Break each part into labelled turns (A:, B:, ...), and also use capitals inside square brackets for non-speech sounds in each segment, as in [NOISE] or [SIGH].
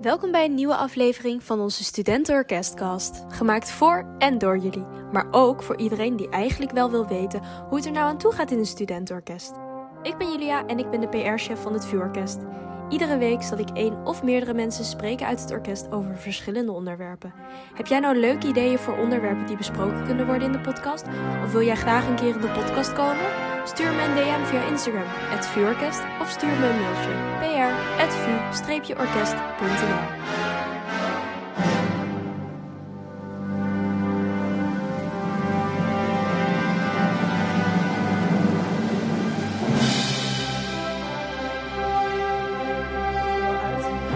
A: Welkom bij een nieuwe aflevering van onze Studentenorkestcast. Gemaakt voor en door jullie, maar ook voor iedereen die eigenlijk wel wil weten hoe het er nou aan toe gaat in een studentenorkest. Ik ben Julia en ik ben de PR-chef van het VU-orkest. Iedere week zal ik één of meerdere mensen spreken uit het orkest over verschillende onderwerpen. Heb jij nou leuke ideeën voor onderwerpen die besproken kunnen worden in de podcast? Of wil jij graag een keer in de podcast komen? Stuur me een DM via Instagram, het VU-orkest, of stuur me een mailtje, pr.vu-orkest.nl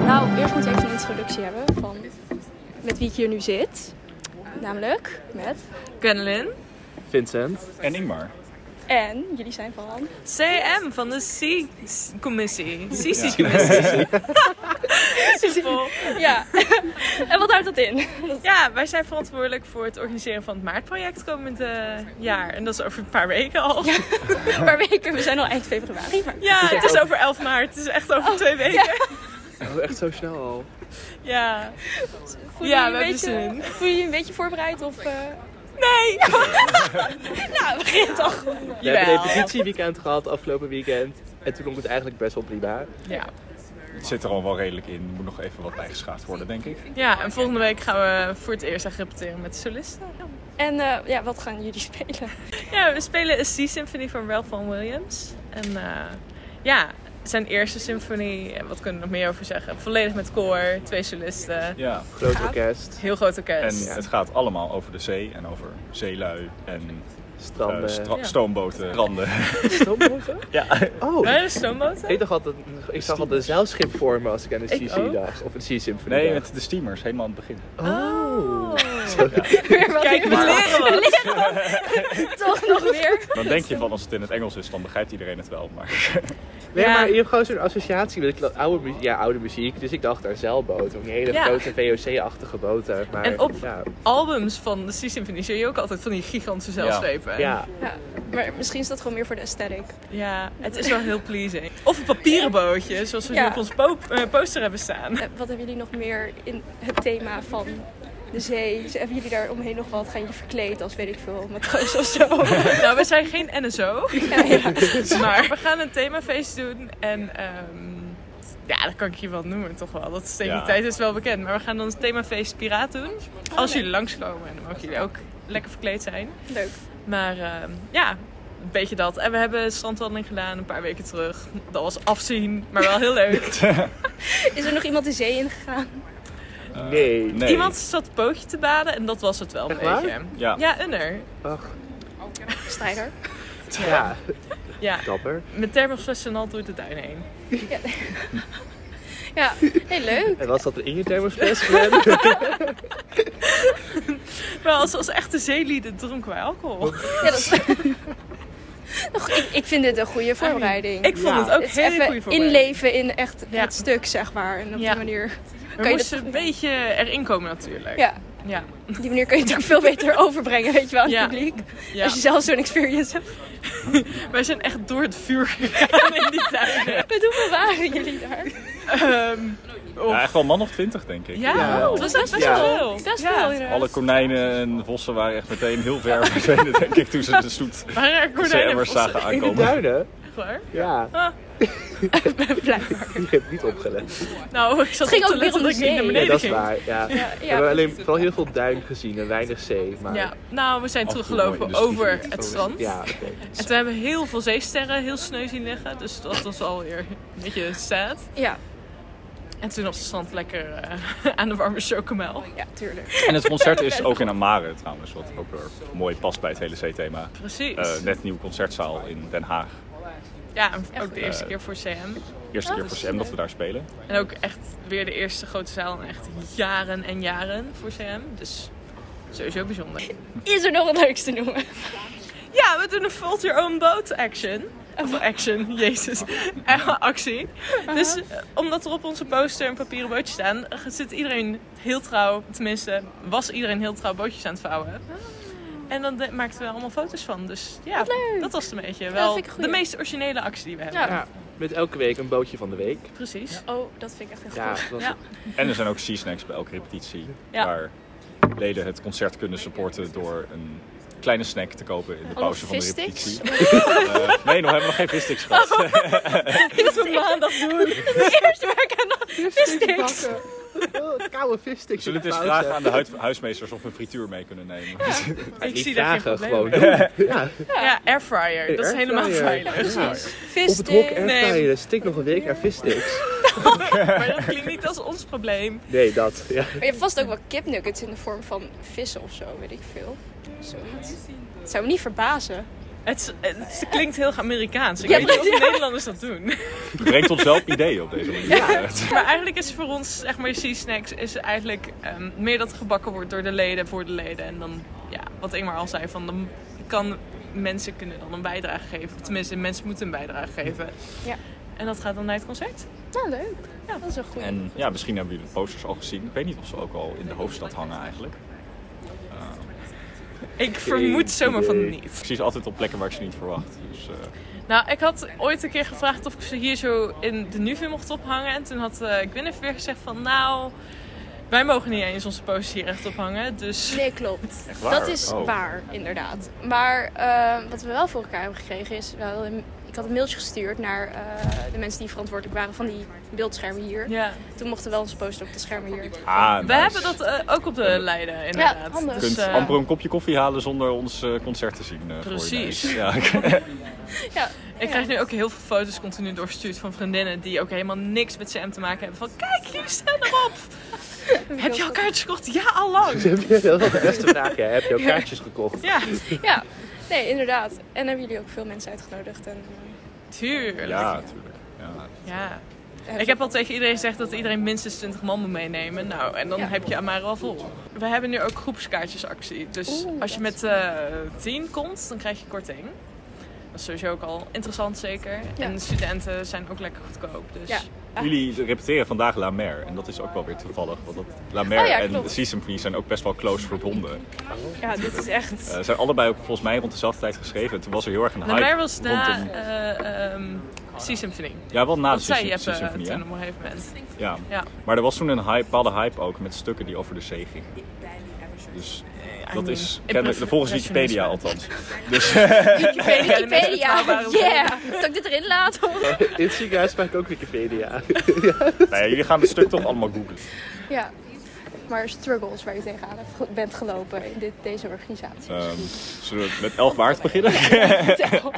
A: Nou, eerst moeten we even een introductie hebben van met wie ik hier nu zit. Namelijk met.
B: Gwendolyn.
C: Vincent.
D: En Ingmar.
A: En jullie zijn van.
B: CM van de C-commissie. [LAUGHS] CC-commissie. Simpel.
A: Ja. en wat houdt dat in?
B: Ja, wij zijn verantwoordelijk voor het organiseren van het Maartproject komend eh, jaar. En dat is over een paar weken al. Ja,
A: Een paar weken, we zijn al eind februari. Maar...
B: het is over 11 maart. Het is echt over twee weken.
C: Oh, echt zo snel al.
B: Ja,
A: Voel je
B: ja
A: je
B: we
A: een
B: hebben
A: beetje,
B: zin.
A: voel je je een beetje voorbereid? Of, eh,
B: Nee!
A: Nou, begint al goed.
C: We hebben
B: Jawel.
C: een repetitieweekend gehad afgelopen weekend. En toen klonk het eigenlijk best wel prima.
B: Ja.
D: Het zit er al wel redelijk in. Er moet nog even wat bijgeschaafd worden, denk ik.
B: ja, en volgende week gaan we voor het eerst echt repeteren met de solisten.
A: En eh, ja, wat gaan jullie spelen?
B: Ja, we spelen een C-symphony van Ralph Vaughan Williams. En eh, ja, zijn eerste symfonie, en wat kunnen we nog meer over zeggen? Volledig met koor, twee solisten,
D: Ja.
C: Groot orkest,
B: heel groot
D: En
B: orkest.
D: het gaat allemaal over de zee en over zeelui en eh,
C: stranden.
D: stra-
B: Ja.
D: stoomboten, [LAUGHS] randen.
C: Strandboten?
D: ja.
C: Oh,
B: Waren er stoomboten?
C: ik dacht altijd, ik zag altijd een zeilschip vormen als ik aan een
B: Ik
C: CC
B: ook.
C: dacht. Of een C-symphony
D: Nee, met de steamers, helemaal aan het begin.
C: Oh.
A: Weer [LAUGHS] wat
B: Kijk,
A: ik-
B: we leren wat.
A: toch nog weer.
D: Dan denk je van als het in het Engels is, dan begrijpt iedereen het wel. Maar
C: Nee,
B: Ja.
C: maar je hebt gewoon zo'n associatie met kla- oude, mu- ja, oude muziek. Dus ik dacht aan zeilboten. Een hele
B: Ja.
C: grote VOC-achtige boten. Maar,
B: En op-
C: ja.
B: Albums van de C-symfonie zie je ook altijd van die gigantische zeilschepen.
C: ja.
A: Ja, maar misschien is dat gewoon meer voor de aesthetic.
B: Ja, het is wel heel pleasing. Of een papieren bootje, zoals we
A: Ja.
B: nu op ons po- eh, poster hebben staan. [LAUGHS]
A: Eh, Wat hebben jullie nog meer in het thema van de zee? Dus hebben jullie daar omheen nog wat? Gaan jullie verkleed als weet ik veel, matroos of zo?
B: Nou, we zijn geen NSO.
A: Ja, ja.
B: Maar we gaan een themafeest doen en ehm, ja, dat kan ik je wel noemen toch wel. Dat is tegen die
D: Ja.
B: tijd is wel bekend. Maar we gaan dan het themafeest Piraat doen.
A: Oh,
B: Als jullie langskomen, en dan mogen jullie ook lekker verkleed zijn.
A: Leuk.
B: Maar ehm, ja, een beetje dat. En we hebben strandwandeling gedaan een paar weken terug. Dat was afzien, maar wel heel leuk.
A: Is er nog iemand de zee ingegaan?
C: [LAUGHS] Nee.
D: Eh, nee.
B: Iemand zat het pootje te baden en dat was het wel een
C: Echt waar?
B: beetje.
D: Ja.
B: ja, Unner.
C: Ach,
A: Strijder.
C: ja.
B: Ja,
C: Dapper.
B: met thermosflessen en al door de duin heen.
A: Ja, heel leuk.
C: En was dat een in je
D: [LAUGHS]
C: thermosfles, Gwen?
B: Wel, als, als echte zeelieden dronken wij alcohol.
A: Ja, dat is... [LAUGHS] Nog, ik, ik vind dit een goede voorbereiding.
B: Ik vond
C: Ja.
B: het ook
A: Het is
B: heel
A: even
B: goed voor mij.
A: inleven in echt
B: Ja.
A: het stuk, zeg maar. En op
B: Ja.
A: die manier.
B: We
A: Kan je
B: moesten
A: dat-
B: een beetje erin komen natuurlijk.
A: Ja,
B: Ja.
A: op die manier kun je het ook veel beter [LAUGHS] overbrengen, weet je wel, aan het
B: Ja.
A: publiek.
B: Ja.
A: Als je zelf zo'n experience hebt.
B: Wij zijn echt door het vuur gegaan in die
D: [LAUGHS]
B: tuinen.
A: Met hoeveel waren jullie daar?
B: Ehm,
D: Ja,
B: of-
D: echt wel een man of twintig, denk ik.
B: ja,
C: Ja.
B: het was echt best
C: Ja.
B: wel veel.
A: Best eh,
B: Ja.
A: wel, inderdaad.
D: Alle konijnen en vossen waren echt meteen heel ver [LAUGHS] verdwenen, denk ik, toen ze de stoet
B: Maar er konijnen
D: zeemmers zagen
C: In de
D: aankomen.
C: duinen?
B: hoor.
C: Ja.
B: Ah.
A: Blijkbaar.
C: [LAUGHS] Ik heb niet opgelet.
B: Nou, ik zat
A: ging
B: op te
A: ook weer
B: letten
A: om
B: dat ik
A: de
B: niet
A: zee.
B: naar
C: Ja,
B: beneden
C: dat is
B: ging.
C: waar. Ja.
A: Ja,
C: We
A: ja,
C: hebben alleen vooral heel veel duin gezien en weinig zee. Maar...
B: Ja, nou, we zijn
D: Af en toe
B: teruggelopen
D: mooi in de
B: over
D: spiegel.
B: het strand.
C: Ja, oké.
B: En toen hebben we heel veel zeesterren heel sneu zien liggen. Dus dat was alweer een beetje sad.
A: Ja,
B: En toen op het strand lekker eh, [LAUGHS] aan de warme
D: Eh,
B: chocomel.
A: ja, tuurlijk.
D: En het concert is ook in Amare trouwens, wat ook weer mooi past bij het hele zeethema.
B: Precies.
D: Eh, net nieuwe concertzaal in Den Haag.
B: ja, ook de
D: eh,
B: eerste keer voor CM.
D: Eerste keer voor CM dat we daar spelen.
B: En ook echt weer de eerste grote zaal in echt jaren en jaren voor CM. Dus sowieso bijzonder.
A: Is er nog wat leuks te noemen?
B: Ja, we doen een Fold Your Own Boat action. Of action, [LAUGHS] jezus. Actie. Dus eh, omdat er op onze poster een papieren bootje staan, eh, zit iedereen heel trouw, tenminste was iedereen heel trouw bootjes aan het vouwen. En dan de- maakten we allemaal foto's van. Dus ja, dat was het een beetje wel
A: vind ik een goeie.
B: de meest originele actie die we hebben.
A: Ja.
C: Met elke week een bootje van de week.
B: Precies.
A: Oh, dat vind ik echt heel
C: Ja,
A: goed.
C: dat was
B: Ja.
D: En er zijn ook C-snacks bij elke repetitie.
B: Ja.
D: Waar leden het concert kunnen supporten door een kleine snack te kopen in de pauze van de
A: vissticks?
D: repetitie. [LAUGHS] Eh, nee, nog hebben we nog geen vissticks gehad. [LAUGHS]
B: Dat is maandag doen.
A: [LAUGHS] Eerst werken en dan vissticks.
C: Oh, koude vissticks.
D: Zullen we het eens vragen aan de huid- huismeesters of we frituur mee kunnen nemen? [LAUGHS]
B: Ik
C: die
B: zie daar geen
C: vragen
B: probleem
C: gewoon.
B: mee.
C: Ja,
B: Ja, airfryer. Dat is helemaal
C: airfryer.
B: veilig.
C: Ja. Op het hok
A: Vissticks.
B: Nee.
C: airfryer. Stik nog een week aan vissticks.
B: [LAUGHS] Maar dat klinkt niet als ons probleem.
C: Nee, dat. [LAUGHS] Ja.
E: Maar je hebt vast ook wel kipnuggets in de vorm van vissen of zo, weet ik veel. Zoiets. Het zou me niet verbazen.
B: Het, is- het klinkt heel Amerikaans. Ik
E: Ja,
B: weet niet of de Nederlanders dat doen. [LAUGHS]
D: Je brengt ons wel op ideeën op deze manier.
B: Maar eigenlijk is voor ons, zeg maar, C-snacks is eigenlijk ehm, meer dat er gebakken wordt door de leden, voor de leden. En dan, ja, wat Ingmar al zei, van dan kan, mensen kunnen dan een bijdrage geven. Tenminste, mensen moeten een bijdrage geven.
E: Ja.
B: En dat gaat dan naar het concert.
E: Nou, leuk. Ja, dat is een goede.
D: En ja, misschien hebben jullie de posters al gezien. Ik weet niet of ze ook al in de hoofdstad hangen eigenlijk.
B: Ik vermoed zomaar van niet.
D: Precies altijd op plekken waar ik ze niet verwacht. Dus, eh,
B: Nou, ik had ooit een keer gevraagd of ik ze hier zo in de Nuvi mocht ophangen. En toen had eh Gwyneth weer gezegd van, nou, wij mogen niet eens onze posters hier echt ophangen. Dus
E: Nee, klopt.
D: Echt waar?
E: Dat is
D: Oh.
E: waar, inderdaad. Maar eh, wat we wel voor elkaar hebben gekregen is... Wel, een- ik had een mailtje gestuurd naar eh, de mensen die verantwoordelijk waren van die beeldschermen hier.
B: ja,
E: Toen mochten we wel onze poster op de schermen hier.
D: ah,
B: we
D: nice.
B: hebben dat eh, ook op de Leiden inderdaad.
E: handig.
D: Je
B: Dus,
D: kunt
B: eh,
D: amper een kopje koffie halen zonder ons eh, concert te zien. eh, voor je
B: Precies. [LAUGHS]
D: neus. Ja, [LAUGHS]
E: Ja,
B: Ik krijg nu ook heel veel foto's continu doorgestuurd van vriendinnen die ook helemaal niks met CM te maken hebben. Van kijk, jullie staan erop. Heb je al kaartjes gekocht? Ja, al lang.
C: Heb je- Dat was de beste vraag. hè. Heb je ook kaartjes gekocht?
B: Ja,
E: ja. Nee, inderdaad. En hebben jullie ook veel mensen uitgenodigd. En,
B: tuurlijk.
D: ja natuurlijk. Ja.
B: Ja.
E: eh,
B: Ik heb al tegen iedereen gezegd dat iedereen minstens 20 man moet meenemen. Nou, en dan
E: Ja.
B: heb je Amara al vol. We hebben nu ook groepskaartjesactie. Dus
E: Oeh,
B: als je
E: dat
B: met eh 10 komt, dan krijg je korting. Dat is sowieso ook al interessant zeker.
E: Ja.
B: En studenten zijn ook lekker goedkoop. Dus
E: Ja.
D: Jullie repeteren vandaag La Mer. En dat is ook wel weer toevallig. Want dat, La Mer
E: Oh ja,
D: en
E: klopt.
D: Seasymphony zijn ook best wel close verbonden.
B: ja dit is echt...
D: Eh, Ze zijn allebei ook volgens mij rond dezelfde tijd geschreven. Toen was er heel erg een
B: Nou,
D: hype.
B: mij was na
D: rondom-
B: eh, ehm, Sea Symphony.
D: Ja, wel na de
B: Dat zei
D: Sea-
B: Jeppe
D: Sea Symphony. hè?
B: toen op een gegeven moment.
D: Ja.
B: Ja.
D: Maar er was toen een hype, bepaalde hype ook met stukken die over de zee gingen. Dus dat is
B: mean,
D: kennelijk,
B: impressive-
D: volgens Wikipedia althans. Dus
B: Wikipedia, de meest
E: Wikipedia,
B: betrouwbare bron.
E: yeah! [LAUGHS] Dat ik dit erin laat, hoor.
C: In het ziekenhuis sprak ook Wikipedia.
D: [LAUGHS] nou ja, jullie gaan het stuk toch allemaal googlen.
E: Ja. Maar struggles waar je tegenaan hebt ge- bent gelopen in dit, deze organisatie.
D: Ehm, zullen we met Elfwaard beginnen?
E: Vertel.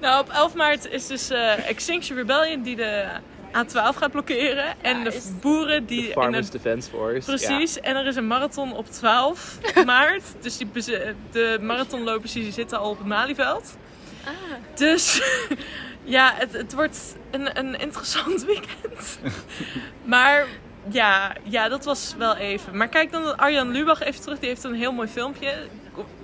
B: Nou, op 11 maart is dus eh, Extinction Rebellion die de A12 gaat blokkeren. en de
E: is-
B: boeren die... in
C: Farmers
B: het-
C: Defense Force. ja.
B: Precies, en er is een marathon op 12 maart. Dus die, beze- de marathonlopers die zitten al op het Malieveld. Dus [LAUGHS] ja, het, het wordt een, een interessant [LAUGHS] weekend. maar ja, ja, dat was wel even. Maar kijk dan Arjan Lubach even terug, die heeft een heel mooi filmpje.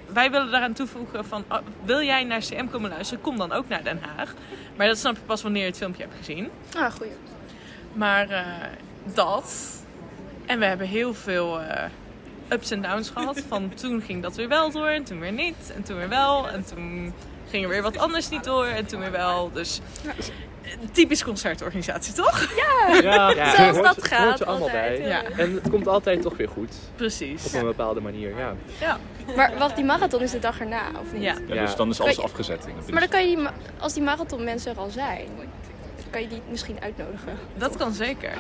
B: Wij willen daaraan toevoegen van, ah, wil jij naar CM komen luisteren? Kom dan ook naar Den Haag. Maar dat snap je pas wanneer je het filmpje hebt gezien.
E: Ah, goeie.
B: Maar eh, dat. En we hebben heel veel eh, ups en downs gehad. Van [LAUGHS] toen ging dat weer wel door en toen weer niet. En toen weer wel. En toen ging er weer wat anders niet door en toen weer wel. Dus eh, typisch concertorganisatie, toch? [LAUGHS]
C: Ja,
E: Zoals
C: hoort-
E: dat
C: hoort
E: gaat
C: er allemaal
E: altijd,
C: bij.
B: ja.
C: En het komt altijd toch weer goed.
B: Precies.
C: Op een bepaalde manier, ja.
E: Maar wacht, die marathon is de dag erna, of niet?
B: Ja.
D: Ja,
C: Ja.
D: Dus dan is alles afgezet. in de
E: Maar dan kan je, die ma- als die marathon mensen er al zijn, dan kan je die misschien uitnodigen.
B: Dat kan zeker.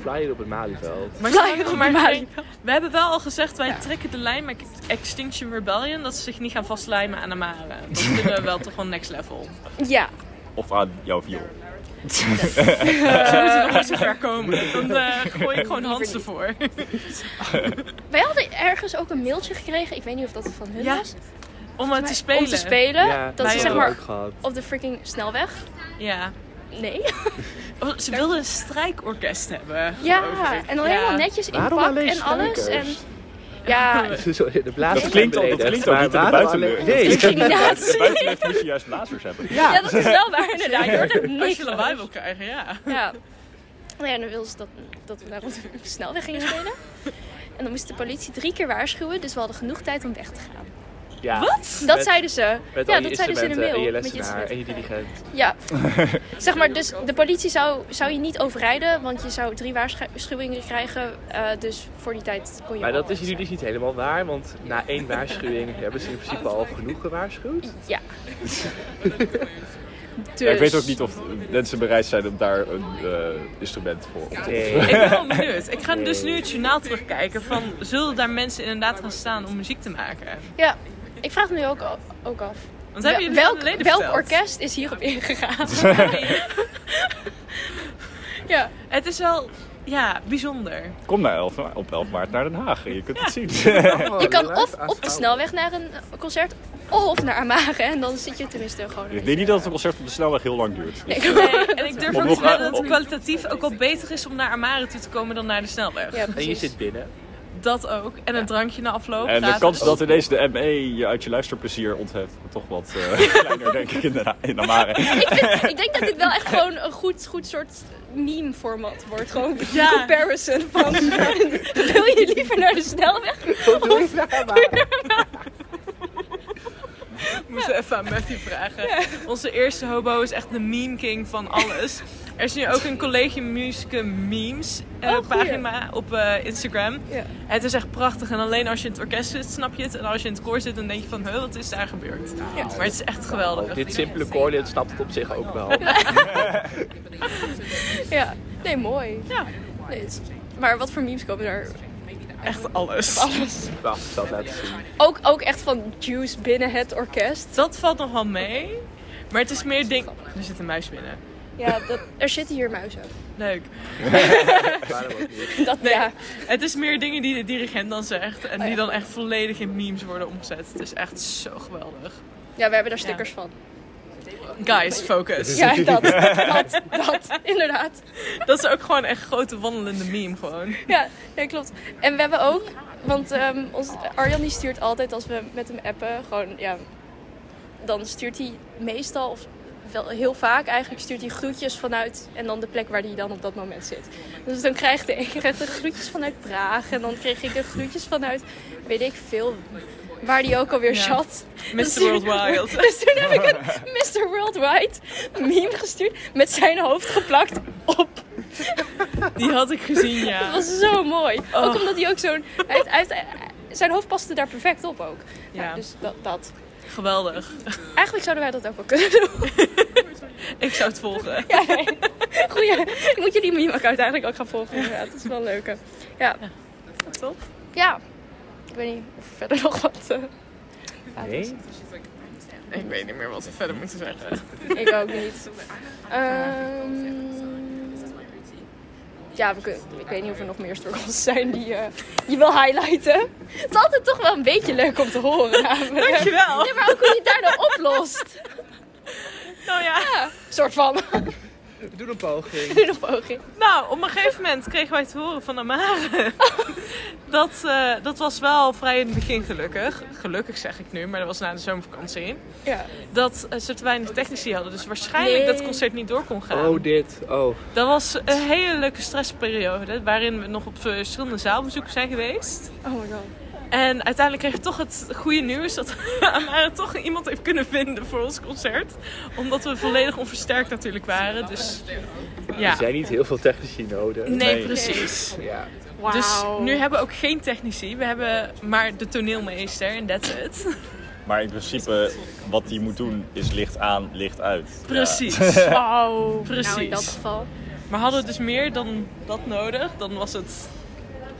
C: Flyer op het Malieveld.
B: Maar,
E: Flyer
B: snap je,
E: op
B: maar
E: de
B: ik
E: Mali.
B: denk- we hebben wel al gezegd, wij trekken de lijn met Extinction Rebellion. Dat ze zich niet gaan vastlijmen aan de maren. Dat vinden we wel toch wel next level.
E: Ja.
D: Of aan jouw
E: [LAUGHS]
D: viool.
B: Ze moeten nog niet zo ver komen. Dan eh, gooi ik gewoon Hans ervoor.
E: Wij hadden ergens ook een mailtje gekregen, ik weet niet of dat van hun
B: Ja,
E: was.
B: Om het te spelen.
E: Om te spelen, dat
B: wij
E: ze zeg
B: hadden
E: maar
C: ook gehad. [LAUGHS]
E: op de freaking snelweg.
B: Ja.
E: Nee.
B: Oh, Ze wilden een strijkorkest hebben. geloof
E: Ja,
B: ik.
E: en dan
B: Ja.
E: helemaal netjes in
C: Waarom
E: pak
C: alleen
E: en alles. En,
C: strijkers?
E: ja, [LAUGHS]
C: Sorry, de blazers
D: Dat klinkt
C: zijn
D: al- dat
C: beledigd,
D: klinkt al
C: maar
D: niet in de
C: waarom
D: buitenlucht.
C: alleen-
D: Dat
C: Nee,
E: discriminatie.
D: Buitenlicht moet je juist blazers hebben.
E: Ja, dat is wel waar inderdaad. Je hoort ook
B: Als
E: niks.
B: je lawaai wil krijgen, ja.
E: Ja. Nou ja, dan wilden ze dat, dat we daar rond de snelweg gingen spelen. En dan moest de politie drie keer waarschuwen, dus we hadden genoeg tijd om weg te gaan.
C: Ja. [LAUGHS]
B: Wat?
E: Dat
C: Met-
E: zeiden ze.
C: Met
E: ja,
C: al je
E: dat zeiden ze in de
C: instrumenten
E: mail.
C: en je
E: Met
C: lessenaar en je
E: instrumenten.
C: dirigent.
E: Ja,
C: [LAUGHS]
E: zeg maar, dus de politie zou, zou je niet overrijden, want je zou drie waarschuwingen krijgen. eh, dus voor die tijd kon je.
C: Maar
E: al
C: dat is
E: uit
C: jullie dus niet helemaal waar, want na één waarschuwing [LAUGHS] hebben ze in principe al genoeg gewaarschuwd.
E: zijn.
C: [LAUGHS]
E: Ja. dus...
D: Ja, ik weet ook niet of mensen bereid zijn om daar een eh, instrument voor op te
C: Nee.
B: Ik ben wel benieuwd. Ik ga dus nu het journaal terugkijken van... zullen daar mensen inderdaad gaan staan om muziek te maken?
E: Ja, ik vraag het nu ook, ook af.
B: Want hebben jullie
E: Wel-
B: het aan de
E: welk
B: leden
E: welk
B: verteld?
E: orkest is hierop ingegaan? [LAUGHS] ja.
B: Het is wel, ja, bijzonder.
D: [LAUGHS] Kom naar 11, ma- op 11 maart naar Den Haag. Je kunt het zien. [LAUGHS]
C: Oh,
E: Je kan
C: Live
E: of op de
C: aanschouwen.
E: snelweg naar een concert of naar Amare. En dan zit je tenminste gewoon.
D: ik denk niet dat het concert op de snelweg heel lang duurt.
E: Nee,
B: En ik durf
D: Om
B: ook
D: nog
B: te wedden
D: aan-
B: dat het
D: om-
B: kwalitatief ook wel beter is om naar Amare toe te komen dan naar de snelweg.
E: ja,
C: En je
E: precies.
C: zit binnen.
E: [LAUGHS]
B: Dat ook. En een drankje na afloop.
D: En de
B: gratis.
D: kans dat ineens de ME je uit je luisterplezier onthebt, wordt toch wat eh,
B: [LAUGHS]
D: kleiner, denk ik, in, de, in Amare.
E: Ik, vind- ik denk dat dit wel echt gewoon een goed, goed soort meme-format wordt. Gewoon
B: Ja.
E: een comparison [LAUGHS] van... wil je liever naar de snelweg?
C: Oh,
B: Ik moest even aan Matthew vragen. Onze eerste hobo is echt de meme king van alles. Er is nu ook een college Musica Memes eh,
E: Oh, goeie.
B: pagina op eh, Instagram.
E: Ja.
B: Het is echt prachtig. En alleen als je in het orkest zit, snap je het. En als je in het koor zit, dan denk je van, huh, wat is daar gebeurd? Maar het is echt geweldig.
C: Dit simpele koorlid snapt het op zich ook
E: [LAUGHS]
C: wel.
E: Ja. Nee, mooi.
B: Ja.
E: Nee, het is- maar wat voor memes komen daar?
B: Echt alles.
C: Wacht, ik zal het laten zien.
E: Ook, ook echt van juice binnen het orkest.
B: Dat valt nog wel mee. Maar het is meer ding... Er zit een muis binnen.
E: Ja, dat, er zitten hier muizen.
B: Leuk.
C: Waarom ook niet?
E: Dat, ja.
B: Het is meer dingen die de dirigent dan zegt. En
E: Oh
B: die dan echt volledig in memes worden omgezet. Het is echt zo geweldig.
E: ja, we hebben daar stickers van.
B: Guys, focus.
E: Ja, dat. Dat, dat. Inderdaad.
B: Dat is ook gewoon echt grote wandelende meme gewoon.
E: Ja, ja, klopt. En we hebben ook, want ehm, ons, Arjan die stuurt altijd als we met hem appen, gewoon ja, dan stuurt hij meestal of wel heel vaak eigenlijk stuurt hij groetjes vanuit en dan de plek waar hij dan op dat moment zit. Dus dan krijgt de een krijgt de groetjes vanuit Praag en dan kreeg ik de groetjes vanuit weet ik veel waar die ook alweer
B: Ja.
E: zat. Dus
B: Mr.
E: toen-
B: Worldwide.
E: [LAUGHS] Dus toen heb ik een Mr. Worldwide meme gestuurd met zijn hoofd geplakt op
B: Die had ik gezien, ja.
E: dat was zo mooi. Ook omdat hij ook zo'n. Hij heeft, hij heeft- zijn hoofd paste daar perfect op ook. Ja.
B: Ja.
E: dus dat, dat.
B: Geweldig.
E: Eigenlijk zouden wij dat ook wel kunnen doen.
B: Ik zou het volgen.
E: Ja, nee. [LAUGHS] Goeie. Ik moet jullie meme-account eigenlijk ook gaan volgen. Inderdaad. Dat is wel een leuke. Ja.
B: Top.
E: ja. Ik weet niet of er verder nog wat. eh, aan te
C: Nee?
E: zeggen
B: Ik weet niet meer wat we verder moeten zeggen.
E: [LAUGHS] is. Ik ook niet. Ehm, ja, we kunnen, ik weet niet of er nog meer struggles zijn die eh, je wil highlighten. Het is altijd toch wel een beetje leuk om te horen. namelijk.
B: Dankjewel.
E: Nee, maar ook hoe je het daar nou oplost.
B: Nou ja.
E: soort van.
C: We doen een
E: [LAUGHS]
C: poging.
E: Doe nog poging.
B: Nou, op een gegeven moment kregen wij te horen van Amare. [LAUGHS] dat, eh, dat was wel vrij in het begin gelukkig. Gelukkig zeg ik nu, maar dat was na de zomervakantie.
E: Ja.
B: Dat eh, ze te weinig technici hadden. Dus waarschijnlijk dat het
E: Nee.
B: concert niet door kon gaan.
C: Oh, dit. Oh.
B: Dat was een hele leuke stressperiode. Waarin we nog op verschillende zaalbezoeken zijn geweest.
E: Oh my god.
B: En uiteindelijk kreeg ik toch het goede nieuws dat [LAUGHS] Amara toch iemand heeft kunnen vinden voor ons concert. Omdat we volledig onversterkt natuurlijk waren. Dus ja.
C: Er zijn niet heel veel technici nodig.
B: Nee,
D: Nee.
B: precies.
C: Ja.
B: Dus nu hebben we ook geen technici. We hebben maar de toneelmeester en that's it.
D: Maar in principe, wat die moet doen is licht aan, licht uit. Ja.
B: Precies.
E: Wow. Nou, in
B: Precies.
E: dat geval.
B: Maar hadden we dus meer dan dat nodig, dan was het...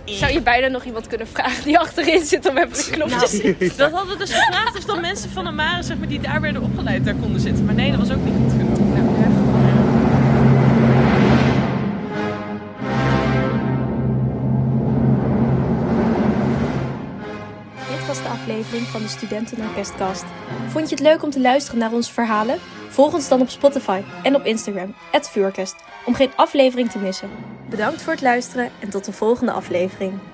E: Zou je bijna nog iemand kunnen vragen die achterin zit om even de knopjes te zien?
B: Dat hadden we dus gevraagd of dan mensen van Amara, zeg maar, die daar werden opgeleid, daar konden zitten. Maar nee, dat was ook niet goed genoeg.
A: Dit was de aflevering van de Studentenorkestkast. Vond je het leuk om te luisteren naar onze verhalen? Volg ons dan op Spotify en op Instagram, @vuurkest, om geen aflevering te missen. Bedankt voor het luisteren en tot de volgende aflevering.